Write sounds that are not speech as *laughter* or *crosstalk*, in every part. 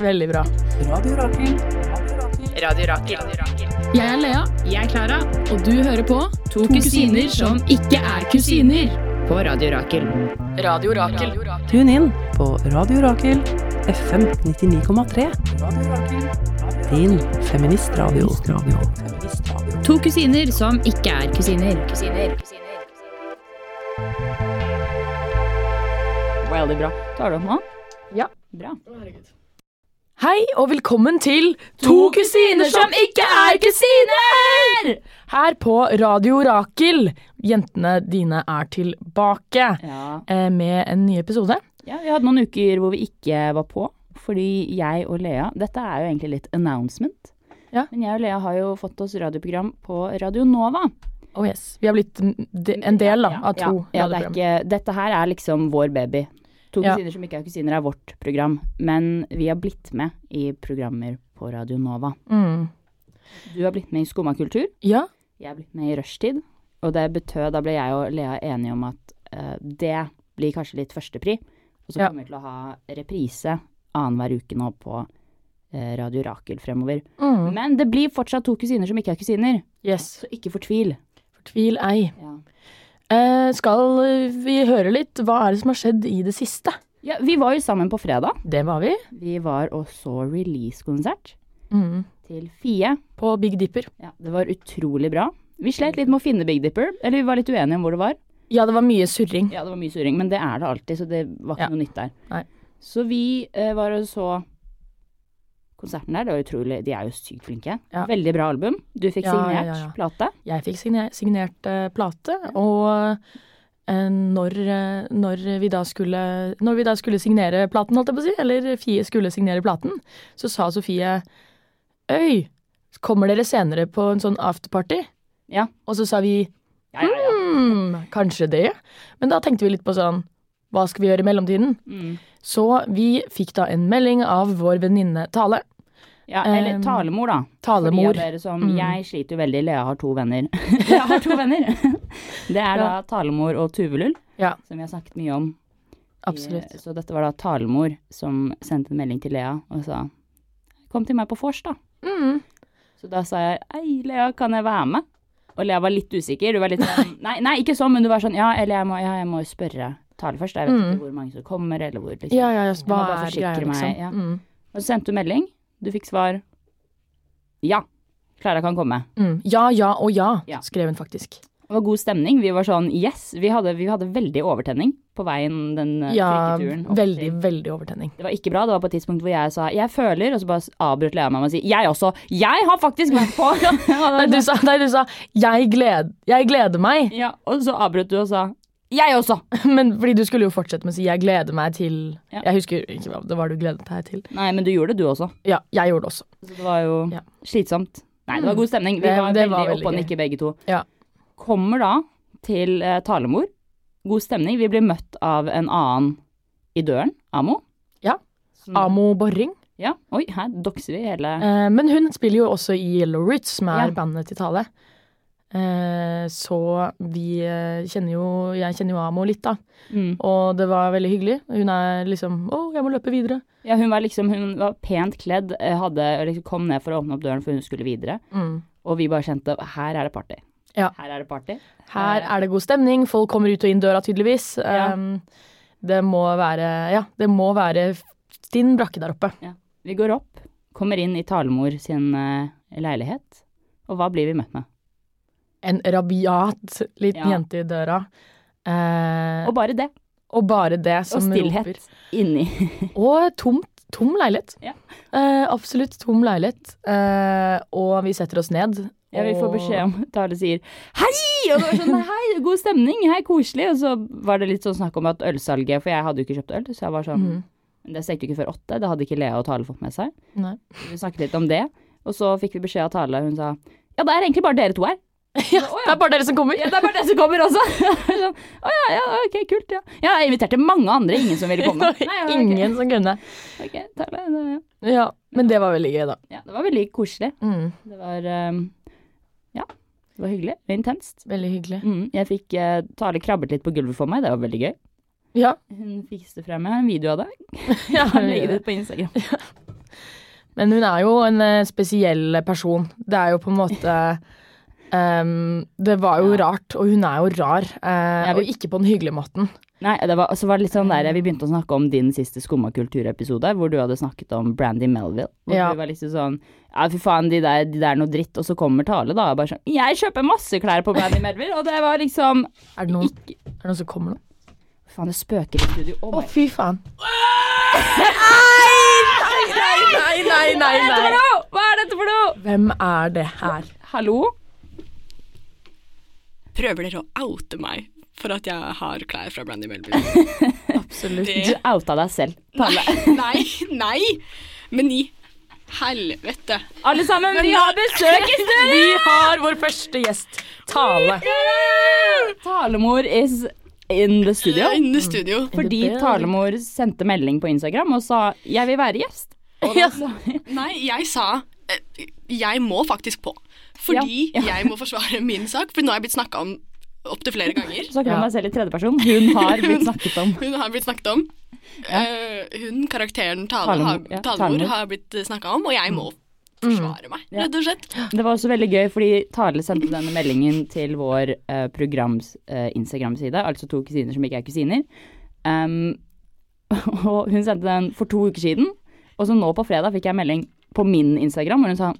Veldig bra. Radio Rakel. Radio Rakel. Jeg er Lea. Jeg er Klara. Og du hører på To kusiner som ikke er kusiner. På Radio Rakel. Radio Rakel. Tune inn på Radio Rakel FM 99,3. Din feministradio. To kusiner som ikke er kusiner. Veldig bra. Tar du opp nå? Ja. Bra. Hei og velkommen til To kusiner som ikke er kusiner! her på Radio Rakel. Jentene dine er tilbake Ja. eh, med en ny episode. ja, vi hadde noen uker hvor vi ikke var på. Fordi jeg og Lea Dette er jo egentlig litt announcement. Ja. Men jeg og Lea har jo fått oss radioprogram på Radio Nova. Oh yes, Vi har blitt mm, de- en del da, av to ja, det er radioprogram. ikke, dette her er liksom vår baby. To Ja. kusiner som ikke er kusiner er vårt program, men vi har blitt med i programmer på Radio Nova. Mm. Du har blitt med i Skumma kultur, Ja, jeg har blitt med i Rushtid, og det betød, da ble jeg og Lea enige om at eh, det blir kanskje litt førstepri, og så Ja. kommer vi til å ha reprise annenhver uke nå på eh, Radio Rakel fremover. mm. Men det blir fortsatt to kusiner som ikke er kusiner, Yes. så ikke fortvil. Fortvil ei. Ja. Eh, skal vi høre litt? Hva er det som har skjedd i det siste? Ja, vi var jo sammen på fredag. Det var vi. Vi var og så release-konsert Mm. til Fie. På Big Dipper. Ja, det var utrolig bra. Vi slet litt med å finne Big Dipper, eller vi var litt uenige om hvor det var. Ja, det var mye surring. Ja, det var mye surring, men det er det alltid, så det var ikke Ja. noe nytt der. Nei. Så vi eh, var og så konserten der. Det var utrolig, de er jo sykt flinke. Ja. Veldig bra album. Du fikk Ja, ja, signert ja, ja. plate. Jeg fikk signer signert eh, plate, og eh, når, eh, når, vi da skulle, når vi da skulle signere platen, holdt jeg på å si, eller Fie skulle signere platen, så sa Sofie Øy, kommer dere senere på en sånn afterparty? Ja. Og så sa vi Ja, ja, ja. hmm, kanskje det. Men da tenkte vi litt på sånn hva skal vi gjøre i mellomtiden? Mm. Så vi fikk da en melding av vår venninne Tale. ja eller Em, talemor, da. For Um, Talemor. de av dere som, Mm. Jeg sliter jo veldig, Lea har to *laughs* venner. *laughs* jeg har to venner! *laughs* Det er da talemor og Tuvelull, Ja. som vi har snakket mye om. Absolutt. Eh, Så dette var da talemor som sendte en melding til Lea og sa Kom til meg på vors, da. Mm. Så da sa jeg Ei, Lea, kan jeg være med? Og Lea var litt usikker. Du var litt sånn *laughs* Nei, nei ikke sånn, men du var sånn Ja, eller jeg må, ja, jeg må jo spørre Tale først. Jeg vet Mm. ikke hvor mange som kommer, eller hvor liksom. Ja, ja, ja. Hva bare er forsikre greia, liksom? meg, ja. Mm. Og så sendte du melding. Du fikk svar Ja. Klara kan komme. Mm. Ja, ja og ja, Ja. skrev hun faktisk. Det var god stemning. Vi var sånn Yes! Vi hadde, vi hadde veldig overtenning på veien den eh, Ja, trikketuren. opp veldig, til- veldig overtenning. Det var ikke bra. Det var på et tidspunkt hvor jeg sa 'jeg føler', og så bare avbrøt Lea meg med å si 'jeg også'. Jeg har faktisk vært på! *laughs* Nei, du sa, nei, du sa 'jeg, gled, 'jeg gleder meg', *laughs* ja, og så avbrøt du og sa 'jeg også'. men fordi du skulle jo fortsette med å si 'jeg gleder meg til' Ja. Jeg husker ikke hva det var du gledet deg til. Nei, men du gjorde det, du også. Ja, jeg gjorde det også. Så det var jo Ja. slitsomt. Nei, det var god stemning. Vi Det- var det veldig, var veldig oppe og gøy. nikke begge to. Ja. Kommer da til eh, talemor. God stemning. Vi blir møtt av en annen i døren, Amo. Ja. Som- Amo Borring. Ja. Oi, her dokser vi hele Eh, men hun spiller jo også i Yellow Ritz, som er Ja. bandet til Tale. Eh, så vi eh, kjenner jo Jeg kjenner jo Amo litt, da. mm. Og det var veldig hyggelig. Hun er liksom 'Å, jeg må løpe videre'. Ja, hun var liksom Hun var pent kledd, eh, hadde, liksom, kom ned for å åpne opp døren, for hun skulle videre. Mm. Og vi bare kjente her er det party. Ja. Her er det party. Her er det god stemning, folk kommer ut og inn døra tydeligvis. Eh. Ja. Um, det må være Ja, det må være stinn brakke der oppe. Vi går opp, kommer inn i talemor sin eh, leilighet, og hva blir vi møtt med? En rabiat liten Ja. jente i døra. Eh, Og og, bare det. bare det Og som roper. stillhet inni. Og tomt, tom leilighet. Ja. Eh, absolutt tom leilighet. Eh, og vi setter oss ned. Ja, vi får og- beskjed om Tale sier hei! Og det var sånn hei, god stemning, hei, koselig. Og så var det litt sånn snakk om at ølsalget, for jeg hadde jo ikke kjøpt øl, så jeg var sånn Mhm. Det stengte jo ikke før åtte, det hadde ikke Lea og Tale fått med seg. Nei. Vi snakket litt om det, og så fikk vi beskjed av Tale, hun sa ja, det er egentlig bare dere to her. Ja, det er bare dere som kommer. Ja, det er bare det som kommer også. *laughs* sånn, å ja, ja, ok, kult, ja. Ja, jeg inviterte mange andre, ingen som *laughs* ville komme. *laughs* Nei, ja, ok. Ingen som kunne. Ok, Tale, det, Ja, men det var veldig gøy, da. ja, det var veldig koselig. Mm, Det var ehm, Ja, det var hyggelig. og Intenst. veldig hyggelig. Mm, jeg fikk eh, Tale krabbet litt på gulvet for meg, det var veldig gøy. Ja. Hun fikste frem jeg har en video *laughs* av det. ja Jeg legger det ut på Instagram. Men hun er jo en eh, spesiell person. Det er jo på en måte ehm, Det var jo rart, og hun er jo rar. eh, Ja, vi- Og ikke på den hyggelige måten. Nei, det var, så var det litt sånn der, Vi begynte å snakke om din siste skumma kultur-episode, hvor du hadde snakket om Brandy Melville. Hvor Ja. du var liksom sånn Ja, fy faen, de der, de der er noe dritt. Og så kommer Tale, da. Og bare sånn Jeg kjøper masse klær på Brandy Melville, og det var liksom Er det noen, er det noen som kommer nå? Faen, det spøker i studio. Oh Å, my fy faen. Nei, nei, nei, Hva er dette for noe?! Hva er dette for noe?! Hvem er det her? Hallo? prøver dere å oute meg for at jeg har klær fra Brandy *laughs* Melville? Absolutt. Det Du outa deg selv. Nei, nei, nei! Men i helvete. Alle sammen, vi har besøk i studio! Vi har vår første gjest. Tale. Talemor is in the studio. Eh, Inne i studio. Fordi building. Talemor sendte melding på Instagram og sa 'jeg vil være gjest'. Og da sa Nei, jeg sa eh, Jeg må faktisk på. Fordi Ja, jeg må forsvare min sak, for nå har jeg blitt snakka om opptil flere ganger. *laughs* snakker du Ja. om deg selv i tredjeperson. Hun har blitt snakket *laughs* om. Hun har blitt snakket om. Eh, hun, karakteren Tale, Talemor, har, ja, Talemor, Talemor. har blitt snakka om, og jeg må forsvare meg, Ja. rett og slett. Det var også veldig gøy, fordi Tale sendte denne meldingen til vår eh, programs eh, Instagram-side, altså to kusiner som ikke er kusiner. Um, *laughs* og hun sendte den for to uker siden, og så nå på fredag fikk jeg en melding på min Instagram, hvor hun sa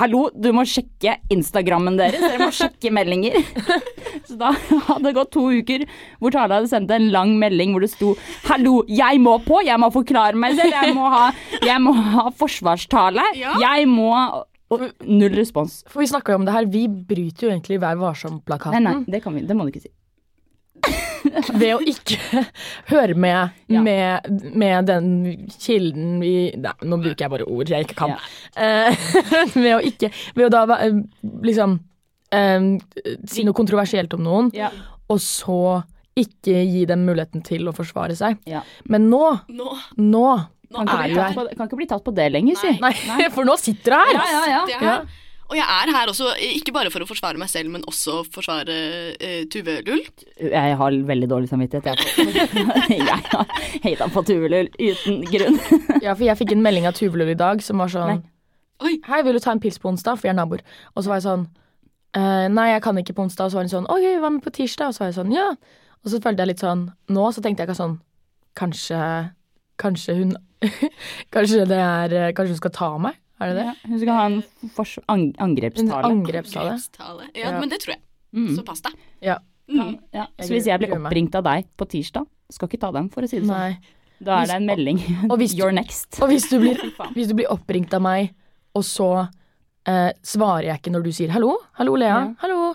Hallo, du må sjekke Instagrammen deres, dere må sjekke meldinger. *laughs* Så da *laughs* hadde det gått to uker hvor Tale hadde sendt en lang melding hvor det sto Hallo, jeg må på, jeg må forklare meg selv, jeg må ha, jeg må ha forsvarstale. Ja. Jeg må og Null respons. For vi snakka jo om det her. Vi bryter jo egentlig Vær Nei, nei, varsom-plakaten det, kan vi, det må du ikke si. ved å ikke *laughs* høre med, Ja. med, med den kilden vi Nei, nå bruker jeg bare ord jeg ikke kan. Ja. Eh, *laughs* ved å ikke Ved å da va- eh, liksom eh, si noe kontroversielt om noen, Ja. og så ikke gi dem muligheten til å forsvare seg. Ja. Men nå, Nå, nå Kan, nå ikke Er bli du tatt her? på, kan ikke bli tatt på det lenger, si. Nei, *laughs* for nå sitter du her! Ja, ja, ja. Det er, Og jeg er her også, ikke bare for å forsvare meg selv, men også forsvare eh, Tuve Lull. Jeg har veldig dårlig samvittighet. Jeg, på. *laughs* jeg har hata på Tuvelul uten grunn. Ja, for jeg fikk en melding av Tuvelul i dag som var sånn Oi. Hei, vil du ta en pils på onsdag? For vi er naboer. Og så var jeg sånn «Eh, Nei, jeg kan ikke på onsdag. Og så var hun sånn OK, hva med på tirsdag? Og så var jeg sånn Ja. Og så følte jeg litt sånn Nå så tenkte jeg ikke sånn Kanskje Kanskje hun *laughs* Kanskje det er eh, Kanskje hun skal ta meg? Er det det? Ja, hun skal ha en fors ang En angrepstale. angrepstale. Grepstale. Ja, Ja. men det tror jeg. Mm. Så pass deg. Ja. Mm. Ja. Jeg Så hvis jeg blir gruer meg. oppringt av deg på tirsdag, skal ikke ta den, for å si det sånn. Nei. Da er det en melding. Og hvis *laughs* du, You're next. og hvis du, blir, Fy faen. hvis du blir oppringt av meg, og så eh, svarer jeg ikke når du sier hallo, hallo Lea, Ja. hallo,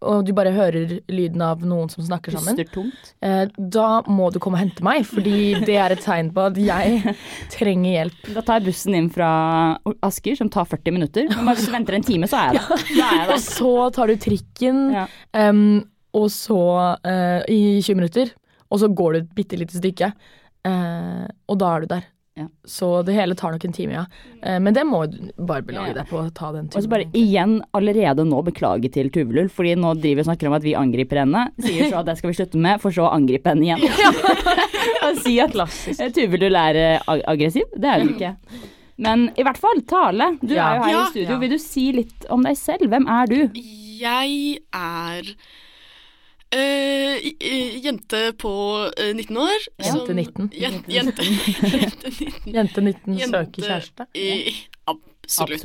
og du bare hører lyden av noen som snakker sammen Puster tungt. Eh, Da må du komme og hente meg, fordi det er et tegn på at *laughs* jeg trenger hjelp. Da tar jeg bussen inn fra Asker, som tar 40 minutter. Men bare hvis du venter en time, så er jeg der. Da er jeg *laughs* Og der. så tar du trikken, Ja. em, og så eh, i 20 minutter, og så går du et bitte lite stykke, eh, og da er du der. Ja. Så det hele tar nok en time, ja. Eh, men det må du bare Ja, belage ja. deg på å ta den Og så bare turen. igjen allerede nå beklage til Tuvelull, fordi nå driver vi og snakker om at vi angriper henne. Sier så at det skal vi slutte med, for så å angripe henne igjen. *laughs* og si at eh, Tuvelull er eh, ag- aggressiv. Det er hun ikke. Men i hvert fall, Tale, du Ja. er jo her Ja. i studio. Ja. Vil du si litt om deg selv? Hvem er du? Jeg er eh, i- i- jente på eh, 19 år. Jente 19. Jen- Jente, *laughs* jente 19. *laughs* Jente 19 Jente- søker kjæreste. I, absolutt.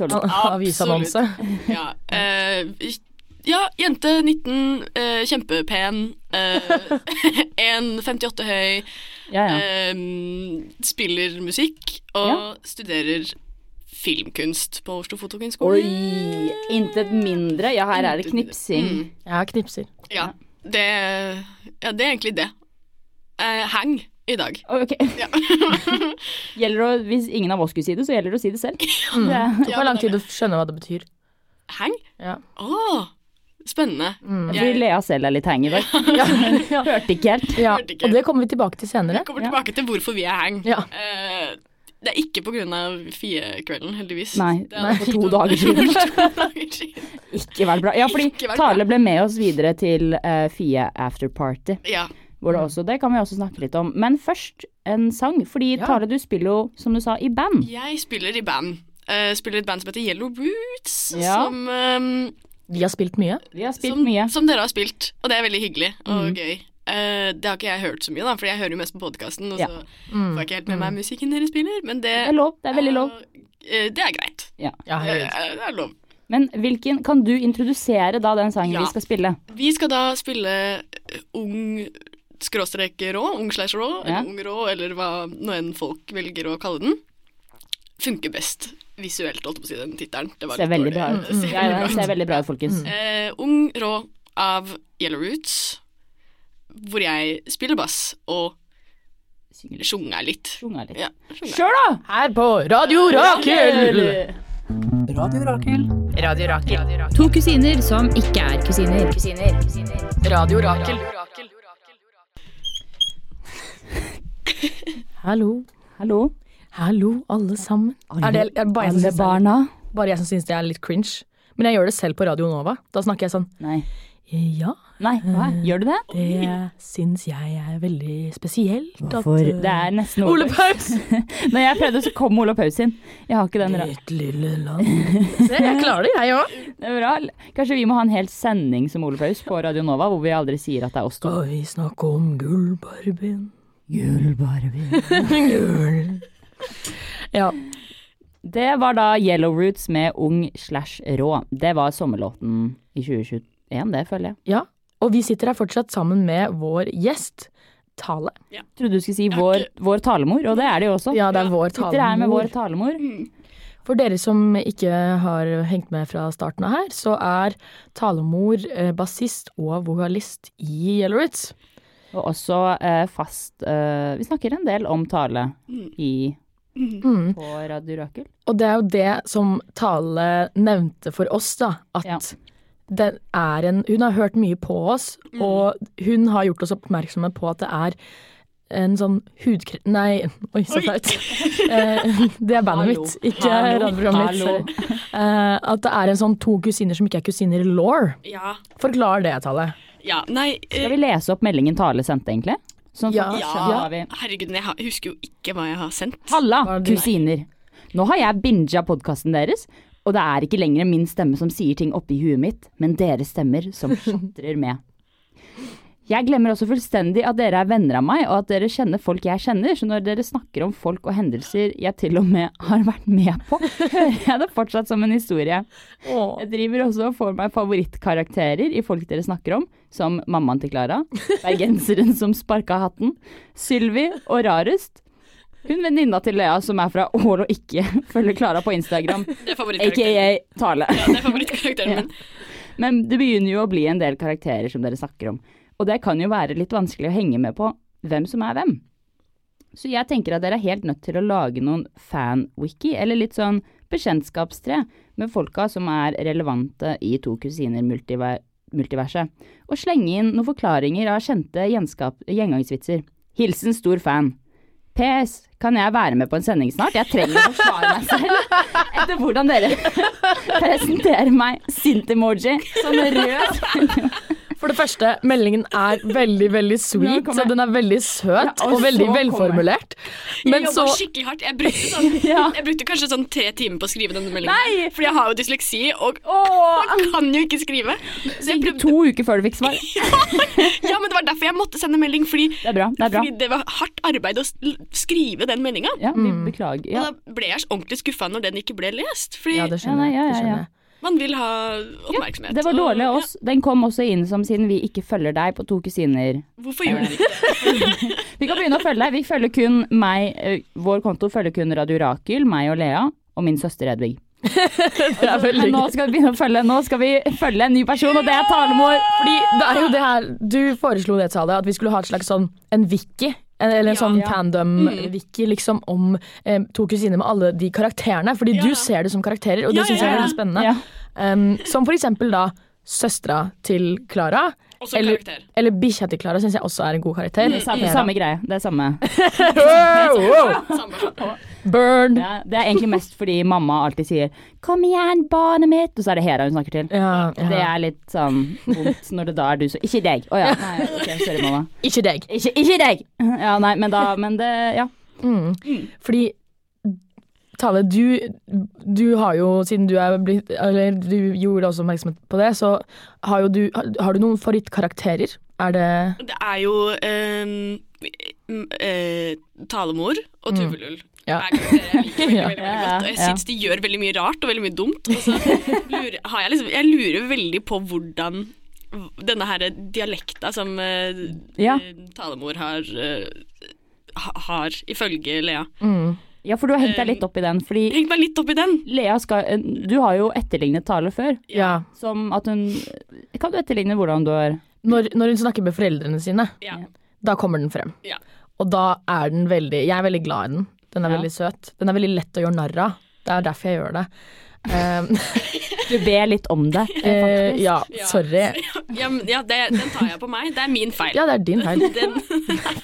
*laughs* Absolutt. Avisannonse. *laughs* Ja, eh, ja, jente 19, eh, kjempepen. eh, *laughs* 1,58 høy. Ja, Eh, ja. Ehm, spiller musikk og Ja. studerer filmkunst på Oslo Fotokunstskole. Oi! Intet mindre. Ja, her er det Mm. knipsing. Jeg knipser. Ja, det, ja, det er egentlig det. Eh, hang i *laughs* dag. Oi, Ok. Ja. Gjelder det, å- hvis ingen av oss skulle si det, så gjelder det å si det selv. Det- Det Ja, tar lang men det- tid å skjønne hva det betyr. Hang? Ja. Å, spennende. Fordi Jeg Lea selv er litt hang i dag. Hørte ikke helt. Ja, Hørte ikke. og det kommer vi tilbake til senere. kommer Ja. tilbake til hvorfor vi er hang. Ja. Eh, det er ikke på grunn av Fie-kvelden, heldigvis. Nei, Det er for to dager siden. For *laughs* to dager siden. Ikke vært bra. Ja, fordi Ikke vært bra. Tale ble med oss videre til eh, Fie afterparty. Ja. Hvor det, også, det kan vi også snakke litt om. Men først en sang, fordi Ja. Tare, du spiller jo, som du sa, i band. Jeg spiller i band. Eh, spiller i et band som heter Yellow Roots, Ja. som, ehm, Vi har spilt mye. Vi har spilt som, mye. Mm. som dere har spilt. Og det er veldig hyggelig og gøy. Eh, det har ikke jeg hørt så mye, da, for jeg hører jo mest på podkasten. Og Ja. Mm. så får jeg ikke helt med meg musikken dere spiller, men det, Det er lov. Det er veldig lov. Eh, det er greit. Ja, Eh, det er lov. Men hvilken Kan du introdusere da den sangen Ja. vi skal spille? Vi skal da spille eh, ung skråstrek rå, ung slash rå, Ja. eller ung rå, eller hva nå enn folk velger å kalle den. Funker best visuelt, holdt på å si, den tittelen. Det var Ser litt veldig bra dårlig. ut. Ser Ja, veldig den bra ser veldig bra ut, folkens. Eh, ung rå av Yellow Roots, hvor jeg spiller bass og Synger litt. sjunger litt. Sjunga litt. Ja, sjunger. Kjør, da! Her på Radio Rakel! Radio Rakel. Radio Rakel. To kusiner som ikke er kusiner. Radio Rakel. Hallo. Hallo. Hallo, alle sammen. Er det, er det Alle bare, jeg som syns det, barna. er- bare jeg som syns det er litt cringe? Men jeg gjør det selv på Radio Nova. Da snakker jeg sånn Nei. Ja, Nei, hva? Gjør du det? det syns jeg er veldig spesielt. at, For eh, det er nesten Ole Paus! Når jeg prøvde, så kom Ole Paus inn. Jeg har ikke den ra- Mitt lille land. Se, jeg klarer det, jeg òg. Det er bra. Kanskje vi må ha en hel sending som Ole Paus på Radio Nova, hvor vi aldri sier at det er oss to. Skal vi snakke om gullbarbien? Ja. Det var da Yellow Roots med Ung slash Rå. Det var sommerlåten i 2021, det føler jeg. ja. Og vi sitter her fortsatt sammen med vår gjest, Tale. Trodde du skulle si har vår, vår talemor, og det er det jo også. Ja, det er vår Sitter her med vår talemor. talemor. For dere som ikke har hengt med fra starten av her, så er talemor eh, bassist og vokalist i Yellow Ritz. Og også eh, fast eh, Vi snakker en del om tale i, Mm. på Radio Rakel. Og det er jo det som Tale nevnte for oss, da. At Ja. den er en Hun har hørt mye på oss, Mm. og hun har gjort oss oppmerksomme på at det er en sånn hudkre... Nei, oi, så Oi. flaut. Eh, det er bandet Hallo. mitt, ikke Hallo. radioprogrammet Hallo. mitt. sorry. Eh, At det er en sånn to kusiner som ikke er kusiner-law. Ja. Forklar det, Tale. ja. Nei, Skal eh, vi lese opp meldingen Tale sendte, egentlig? Sånn at Ja. folk skjønner Ja. hva vi herregud, men jeg har- husker jo ikke hva jeg har sendt. Halla, Var det- kusiner. Nå har jeg binga podkasten deres, og det er ikke lenger min stemme som sier ting oppi huet mitt, men deres stemmer som chatrer med. Jeg glemmer også fullstendig at dere er venner av meg, og at dere kjenner folk jeg kjenner, så når dere snakker om folk og hendelser jeg til og med har vært med på, *laughs* hører jeg det fortsatt som en historie. Jeg driver også og får meg favorittkarakterer i folk dere snakker om, som mammaen til Klara, bergenseren som sparka hatten, Sylvi og rarest. Hun venninna til Lea som er fra Ål og ikke følger Klara på Instagram, Det er favorittkarakteren, aka Tale. det er favorittkarakteren *laughs* min. Men det begynner jo å bli en del karakterer som dere snakker om, og det kan jo være litt vanskelig å henge med på hvem som er hvem. Så jeg tenker at dere er helt nødt til å lage noen fan-wiki, eller litt sånn bekjentskapstre, med folka som er relevante i To kusiner multiver multiverset, og slenge inn noen forklaringer av kjente gjenskap gjengangsvitser. Hilsen stor fan. PS. Kan jeg være med på en sending snart? Jeg trenger å forsvare meg selv *laughs* etter hvordan dere presenterer meg sint-emoji som rød. For det første, meldingen er veldig, veldig Nå sweet, kommer- så den er veldig søt Ja, og og veldig så kommer- velformulert. Jeg Men jobba så skikkelig hardt. Jeg brukte, sånn, *laughs* Ja. jeg brukte kanskje sånn tre timer på å skrive denne meldingen. Nei! Fordi jeg har jo dysleksi og Åh, kan jo ikke skrive. Så jeg prøvde, to uker før du fikk svar. ja, men Det var derfor jeg måtte sende melding, fordi Det er bra. Det er bra. fordi det var hardt arbeid å s- l- skrive den meldinga. Ja, vi beklager. Ja. Og da ble jeg ordentlig skuffa når den ikke ble lest. Fordi Ja, det skjønner nei, ja, jeg. Det ja, ja. skjønner jeg. man vil ha oppmerksomhet. Det var dårlig av og- oss. Den kom også inn som siden vi ikke følger deg på To kusiner. Ja, hvorfor gjør dere ikke det? Vi kan begynne å følge deg. Vi følger kun meg, eh, vår konto følger kun Radio Rakel, meg og Lea, og min søster Edvig. Det er veldig Men nå gøy. skal vi begynne å følge, nå skal vi følge en ny person, og det er talemor. Fordi det er jo det her Du foreslo det, Tale, at vi skulle ha et slags sånn en wiki. en- Eller en sånn Ja. Mm. tandem-wiki liksom om eh, to kusiner med alle de karakterene. Fordi Ja. du ser det som karakterer, og det Ja, syns ja, jeg er ja. veldig spennende. Ja. Um, som for eksempel da søstera til Klara, Også Eller- karakter. eller bikkja til Klara, syns jeg også er en god karakter. Det er samme, samme greie. Det er samme. Wow, wow. Samme person. Burn! Ja, det er egentlig mest fordi mamma alltid sier 'kom igjen, barnet mitt', og så er det Hera hun snakker til. Ja, Det ja. er litt sånn vondt når det da er du som Ikke deg. Å ja. Nei, ok, sorry, mamma. Ikke deg. Ikke, ikke deg! Ja, nei, men da Men det Ja. Mm. Fordi Tale, du, du har jo, siden du er blitt Eller du gjorde også oppmerksomhet på det, så har jo du Har du noen favorittkarakterer? Er det Det er jo ehm, m- eh, talemor og tuvelull. Ja. Er karakterer jeg liker veldig, Ja. veldig, veldig Ja, ja, godt. Og jeg ja. syns de gjør veldig mye rart og veldig mye dumt. Og så lurer, har jeg, liksom, jeg lurer veldig på hvordan denne her dialekta som eh, Ja. eh, talemor har, eh, ha- har, ifølge Lea. mm. ja, for du har hengt deg litt opp i den, fordi Heng meg litt opp i den! Lea skal Du har jo etterlignet Tale før. Ja. Som at hun Kan du etterligne hvordan du har Når, når hun snakker med foreldrene sine, Ja. da kommer den frem. Ja. Og da er den veldig Jeg er veldig glad i den. Den er Ja. veldig søt. Den er veldig lett å gjøre narr av. Det er derfor jeg gjør det. Um, Du ber litt om det. eh, *laughs* ja, sorry. Ja, men- ja det, den tar jeg på meg. Det er min feil. Ja, det er din feil, Den, *laughs*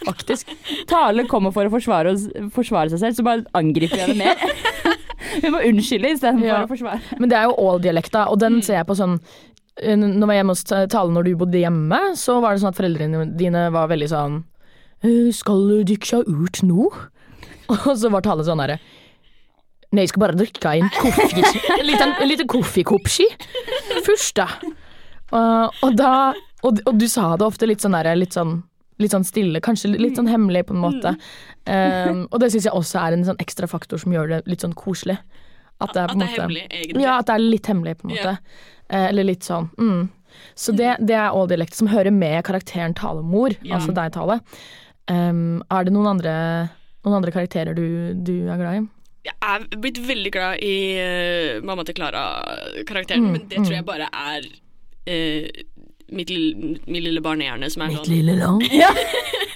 faktisk. Tale kommer for å forsvare, oss, forsvare seg selv, så bare angriper jeg det *laughs* mer. Hun må unnskylde istedenfor Ja. å forsvare. Men det er jo all-dialekta, og Mm. den ser jeg på sånn eh, Når jeg var hjemme hos Tale når du bodde hjemme, så var det sånn at foreldrene dine var veldig sånn «Eh, Skal du drikke ut nå? *laughs* Og så var Tale sånn herre Nei, jeg skal bare drikke en koffe *laughs* En liten, en liten koffekopski først, da. Eh, og da og, og du sa det ofte litt sånn derre litt sånn Litt sånn stille, kanskje litt sånn hemmelig Mm. på en måte. Eh, og det syns jeg også er en sånn ekstra faktor som gjør det litt sånn koselig. At det er, at på en det måte, er hemmelig, egentlig. ja, at det er litt hemmelig, på en måte. Eh, eller litt sånn. Mm. Så det, det er all-dialekt som hører med karakteren talemor, altså deg, Tale. Um, er det noen andre, noen andre karakterer du, du er glad i? Jeg er blitt veldig glad i eh, mamma til Klara-karakteren, men det tror jeg bare er eh, mitt, lille, min lille barnehjerne som er sånn lille *laughs* land.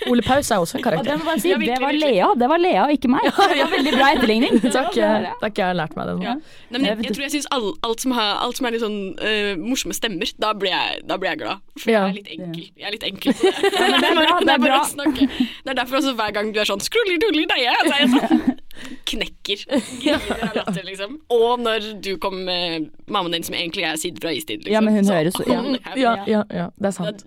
Ole Paus er også en Og det, karakter. må bare si, Ja, virkelig, det var virkelig. Lea, det var Lea og ikke meg. Det var veldig bra *laughs* etterligning. Takk, eh, takk, jeg har lært meg det nå. ja. Nei, men jeg, jeg tror jeg syns alt, alt, som har- alt som er litt sånn eh, morsomme stemmer, da blir jeg, da blir jeg glad. For Ja. jeg er litt enkel. Jeg er litt *laughs* enkel. på det. men det er bra, *laughs* Det er bare bra. å snakke. Det er derfor også hver gang du er sånn skruller, tuller, nei, jeg, så er jeg sånn knekker. *laughs* Griner av latter, liksom. Og når du kom med mammaen din, som egentlig er siden fra istid, liksom. Ja, men hun så, høres ja. Ja, ja, ja, det er Da sant.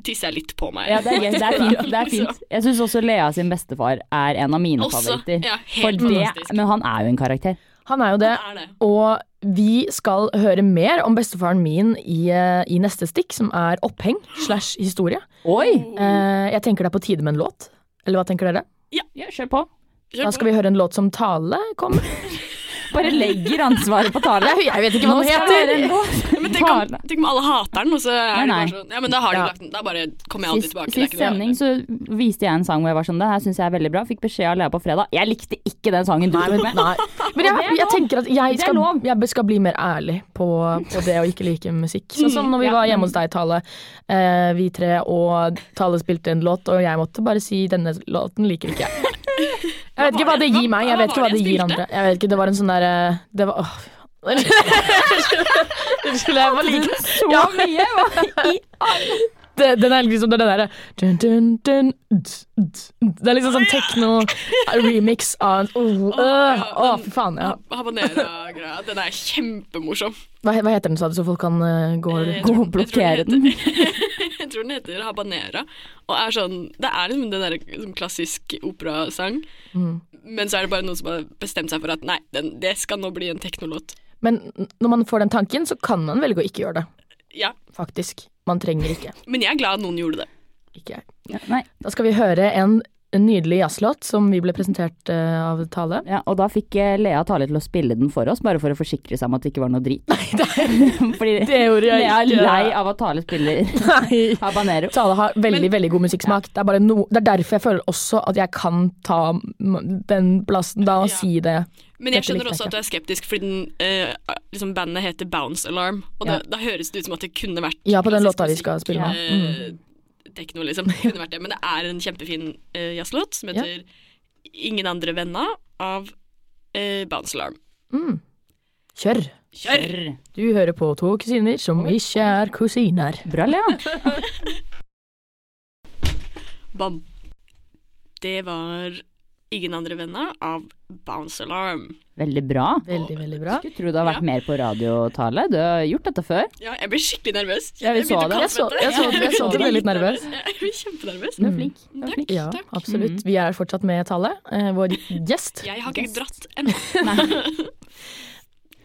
tisser jeg litt på meg. Ja, det er, gøy. det er *laughs* fint. Det er fint. Jeg syns også Lea sin bestefar er en av mine Også, favoritter. ja, For helt det, fantastisk. men han er jo en karakter. Han er jo det. er det. Og vi skal høre mer om bestefaren min i, eh, i neste stikk, som er oppheng slash historie. Oi! Eh, jeg tenker det er på tide med en låt. Eller hva tenker dere? Ja, kjør på. Da skal vi høre en låt som Tale kommer. Bare legger ansvaret på Tale. Jeg vet Nå skal det være en- Men tenk om, Tale. tenk om alle hater den, og så Nei, er det nei. bare sånn Ja, men da har du Ja. lagt den. Da bare kommer jeg alltid Sist, tilbake. det er sist ikke noe sending så viste jeg en sang hvor jeg var sånn Det her syns jeg er veldig bra. Fikk beskjed av Lea på fredag. Jeg likte ikke den sangen du tok med. Nei. Men jeg, jeg tenker at jeg Det er skal, lov. jeg skal bli mer ærlig på, på det å ikke like musikk. Sånn som når vi Ja. var hjemme hos deg, Tale. Eh, vi tre og Tale spilte en låt, og jeg måtte bare si 'denne låten liker *laughs* ikke jeg'. Jeg vet ikke hva det gir meg, jeg vet ikke hva det gir andre. Jeg vet ikke, Det var en sånn derre Det var *laughs* åh. Unnskyld, jeg var like Så Ja. mye! hva i- det, den er liksom den derre dun, dun, dun, ds, ds, ds. Det er liksom sånn tekno-remix av en- Åh, øh, ja, Å, fy faen. Ja. annet. Habanera-greia. Den er kjempemorsom. Hva, he- hva heter den, sa du, så folk kan eh, gå Eh, gå- Gå og blokkere jeg tror den. *laughs* Jeg tror den heter habanera. Og er sånn Det er liksom den der liksom, klassisk operasang. Mm. Men så er det bare noen som har bestemt seg for at nei, den, det skal nå bli en teknolåt. Men når man får den tanken, så kan man velge å ikke gjøre det. Ja. Faktisk. Man trenger ikke. Men jeg er glad noen gjorde det. Ikke jeg. Nei. Da skal vi høre en, en nydelig jazzlåt som vi ble presentert eh, av Tale. Ja, og da fikk eh, Lea Tale til å spille den for oss, bare for å forsikre seg om at det ikke var noe drit. *laughs* Fordi gjorde Lea er lei av at Tale spiller *laughs* *laughs* Nei. habanero. Tale har veldig Men- veldig god musikksmak. Det, er bare no, det er derfor jeg føler også at jeg kan ta m- den plassen da og Ja. si det. Men jeg Dette skjønner likte jeg ikke. også at du er skeptisk, fordi den, eh, liksom bandet heter Bounce Alarm. Og da, da høres det ut som at det kunne vært Ja, på den klassisk låta vi musikk, skal spille nå. Mm. eh, Tekno, liksom. Det kunne vært det. Men det er en kjempefin eh, jazzlåt som Ja. heter Ingen andre venner av eh, Bounce Alarm. Mm. Kjør! Kjør! Du hører på to kusiner som ikke er kusiner. Bra, Lea. Bam. Det var Ingen andre venner av Bounce Alarm. Veldig bra. Veldig, veldig bra. Skulle tro du har vært Ja. mer på radiotale. Du har gjort dette før. Ja, jeg ble skikkelig nervøs. Ja, vi så Jeg begynte å det. kalle Jeg så- meg det. jeg så det. Jeg så det. Jeg ble litt nervøs. *laughs* Jeg ble kjempenervøs. Du er Mm. flink. Du er flink. Ja, Takk. absolutt. Vi er fortsatt med Tale, eh, vår *laughs* gjest. Jeg har ikke dratt ennå. *laughs*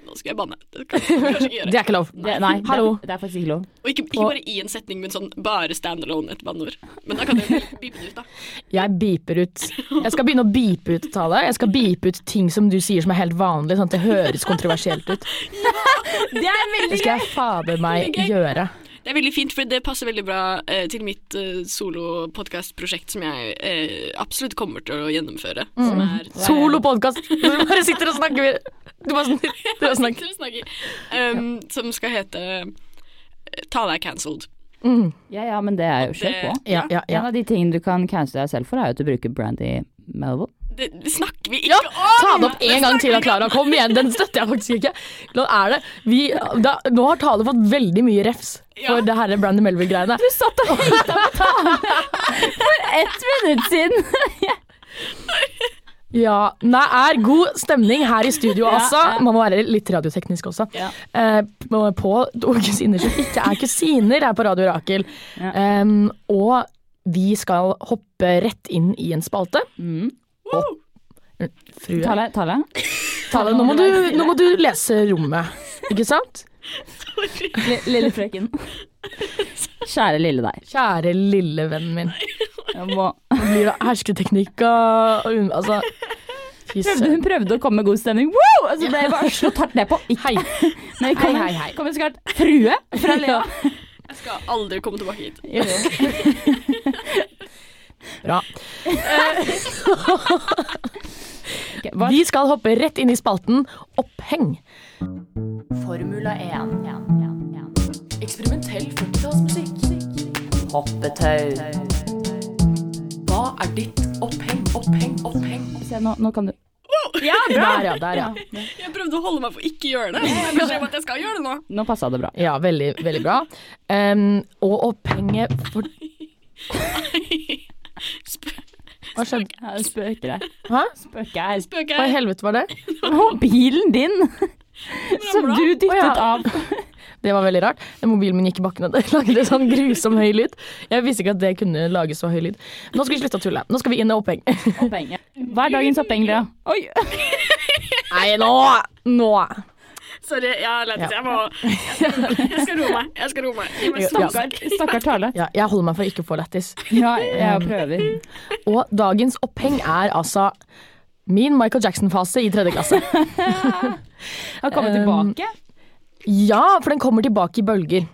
Nå skal jeg banne. Det kan jeg kanskje ikke Det gjøre. er ikke lov. Det, nei, det Hallo. er, det er faktisk ikke lov. Og ikke, ikke bare i en setning, men sånn bare standalone et banneord. Men da kan jeg bipe det ut, da. Jeg beeper ut. Jeg skal begynne å beepe ut Tale. Jeg skal beepe ut ting som du sier som er helt vanlig, sånn at det høres kontroversielt ut. Det er veldig Det skal jeg fader meg gjøre. Det er veldig fint, for det passer veldig bra eh, til mitt eh, solopodkastprosjekt som jeg eh, absolutt kommer til å gjennomføre. Som Mm. er Solopodkast! Du bare sitter og snakker med Du bare snakker. Du bare snakker. Sitter og snakker. Um, Som skal hete eh, Tale er cancelled. Mm. Ja, ja, men det er jo kjør på. Ja, ja, ja. En av de tingene du kan cancele deg selv for, er jo at du bruker Brandy Melville. Det, det snakker vi Ja, ikke ta om! det opp en gang til, Klara. Kom igjen, den støtter jeg faktisk ikke. Nå, er det, vi, da, nå har Tale fått veldig mye refs for Ja. det herre Brandy Melville-greiene. Du satt og Ett minutt siden! Ja. Nei, er god stemning her i *laughs* studio Ja, også. ja. Man må være litt radioteknisk også. Ja. Eh, på på to kusiner som ikke er kusiner her på Radio Rakel. Ja. Em, og vi skal hoppe rett inn i en spalte. Mm. Frue, tale, Tale, tale. nå, må du, nå må du lese rommet, ikke sant? Li- Lille frøken. Kjære lille deg. Kjære lille vennen min. Jeg må... Det blir jo hersketeknikk og og un- Altså, fy prøvde, hun søren. prøvde å komme med god stemning, wow! og så ble jeg bare slått hardt ned på. Ikke. Hei. Men det kom, Hei, hei, hei. kom en skarpt frue fra *laughs* Lea. Jeg skal aldri komme tilbake hit. Bra. *laughs* Ok, hva- Vi skal hoppe rett inn i spalten Oppheng. Formula 1. Eksperimentell 40-tallsmusikk. Hoppetau. Hva er ditt oppheng, oppheng, oppheng? Se, nå, nå kan du Ja, der, ja, der, ja. Jeg prøvde å holde meg for ikke å gjøre det. men Jeg har beskjed om at jeg skal gjøre det nå. Nå passa det bra. Ja, veldig, veldig bra. Em, og opphenget for Hva skjedde? Jeg spøker deg. Hæ? Spøker jeg. Spøker Hva i jeg. helvete var det? Mobilen din som du dyttet Å, ja. av. Det var veldig rart. Mobilen min gikk i bakken, og det lagde sånn grusom høy lyd. Jeg visste ikke at det kunne lage så høy lyd. Nå skal vi slutte å tulle. Nå skal vi inn i oppheng. Opphenget. Hva er dagens oppheng, Lea? Oi! Nei, nå! Nå! Sorry, jeg har lett. Jeg må *laughs* Jeg skal roe meg. Jeg skal roe meg. Gi meg Ja. snakk. Stakkar, stakkar tale. Eh, Ja, jeg holder meg for å ikke få lættis. Ja, jeg prøver. Og dagens oppheng er altså min Michael Jackson-fase i tredje klasse. *laughs* Har kommet tilbake. Ja, for den kommer tilbake i bølger.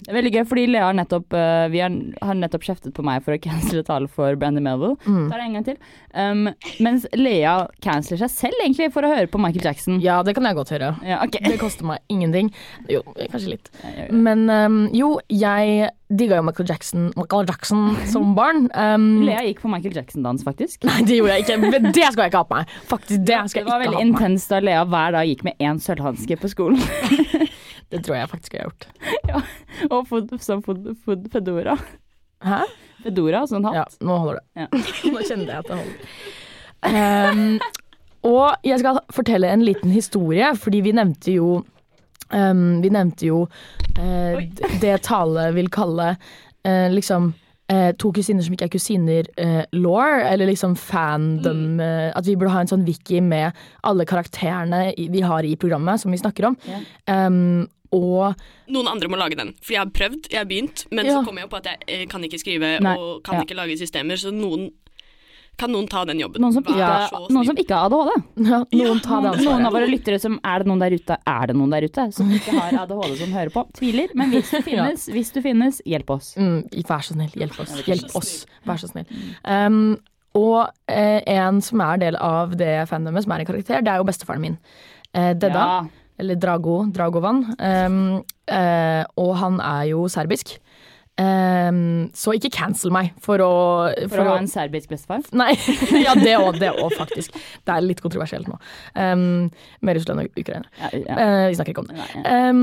Det er veldig gøy, fordi Lea har nettopp, eh, vi har, har nettopp kjeftet på meg for å *laughs* cancele tale for Brandy Melville. Mm. Tar det en gang til. Um, mens Lea canceler seg selv egentlig for å høre på Michael Jackson. Ja, det kan jeg godt høre. Ja, ok. Det koster meg ingenting. Jo, kanskje litt. Men ehm, jo, jeg digga jo Michael Jackson, Michael Jackson *laughs* som barn. Ehm, *laughs* Lea gikk for Michael Jackson-dans, faktisk. nei, *laughs* det gjorde jeg ikke. Men det skal jeg ikke ha på meg. Faktisk, det Det var skal jeg ikke veldig ha på meg. intenst da Lea hver dag gikk med én sølvhanske på skolen. *laughs* Det tror jeg faktisk jeg har gjort. Og fod, sånn fod, fod, fedora. Hæ? Fedora, sånn hatt. Ja, nå holder det. Ja. *laughs* nå kjenner jeg at det holder. Ehm, og jeg skal fortelle en liten historie, fordi vi nevnte jo ehm, Vi nevnte jo eh, det Tale vil kalle eh, liksom eh, to kusiner som ikke er kusiner eh, law, eller liksom fandom eh, At vi burde ha en sånn wiki med alle karakterene i, vi har i programmet som vi snakker om. Ehm, og *laughs* Noen andre må lage den. For jeg har prøvd, jeg har begynt, men Ja. så kom jeg på at jeg eh, kan ikke skrive Nei, og ja. kan ikke lage systemer, så noen Kan noen ta den jobben? Noen som, ikke, Vær så noen som snill. ikke har ADHD. ja, noen tar det Noen altså. av ansvaret. våre lyttere som Er det noen der ute? Er det noen der ute som ikke har *laughs* ADHD som hører på? Tviler. Men hvis det finnes, hvis det finnes hjelp oss. Mm, vær så snill, hjelp oss. Hjelp så oss, vær Mm. så snill. Um, og eh, en som er del av det fandomet, som er en karakter, det er jo bestefaren min. Eh, Dedda, Ja. eller Drago, Dragovan. Um, eh, og han er jo serbisk. Ehm, så ikke cancel meg for å For å ha en serbisk bestefar? *laughs* Nei. *laughs* ja, det òg, det òg, faktisk. Det er litt kontroversielt nå. Ehm, med Russland og Ukraina. Ja, ja. Eh, vi snakker ikke om det. Nei, ja. Ehm,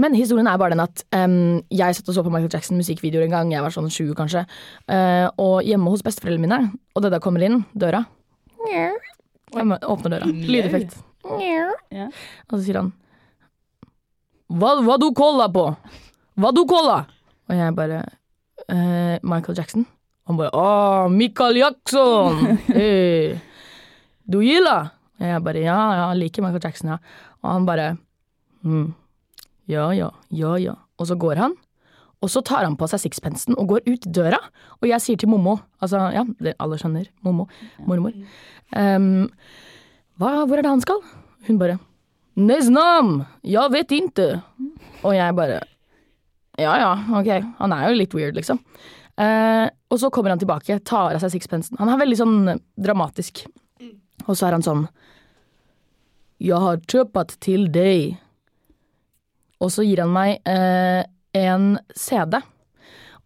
men historien er bare den at ehm, jeg satt og så på Michael Jackson musikkvideoer en gang, jeg var sånn sju kanskje, Eh, og hjemme hos besteforeldrene mine, og det da kommer inn, døra Jeg må- Åpner døra. Lydeffekt. Ja. Og så sier han Hva, hva du kolla på? Hva du kolla? Og jeg bare «Eh, Michael Jackson. Han bare Å, Michael Jackson! Hey. Du gillar? Og jeg bare Ja, ja, jeg liker Michael Jackson, ja. Og han bare «Hm, Ja, ja, ja, ja. Og så går han. Og så tar han på seg sixpensen og går ut døra. Og jeg sier til mommo, altså ja, det alle skjønner, mommo, mormor ehm, hva, Hvor er det han skal? Hun bare Neznam! Jeg vet ikke. Og jeg bare Ja ja, ok. Han er jo litt weird, liksom. Eh, og så kommer han tilbake, tar av seg sixpensen. Han er veldig sånn dramatisk. Og så er han sånn Jeg har kjøpt til deg. Og så gir han meg eh, en CD.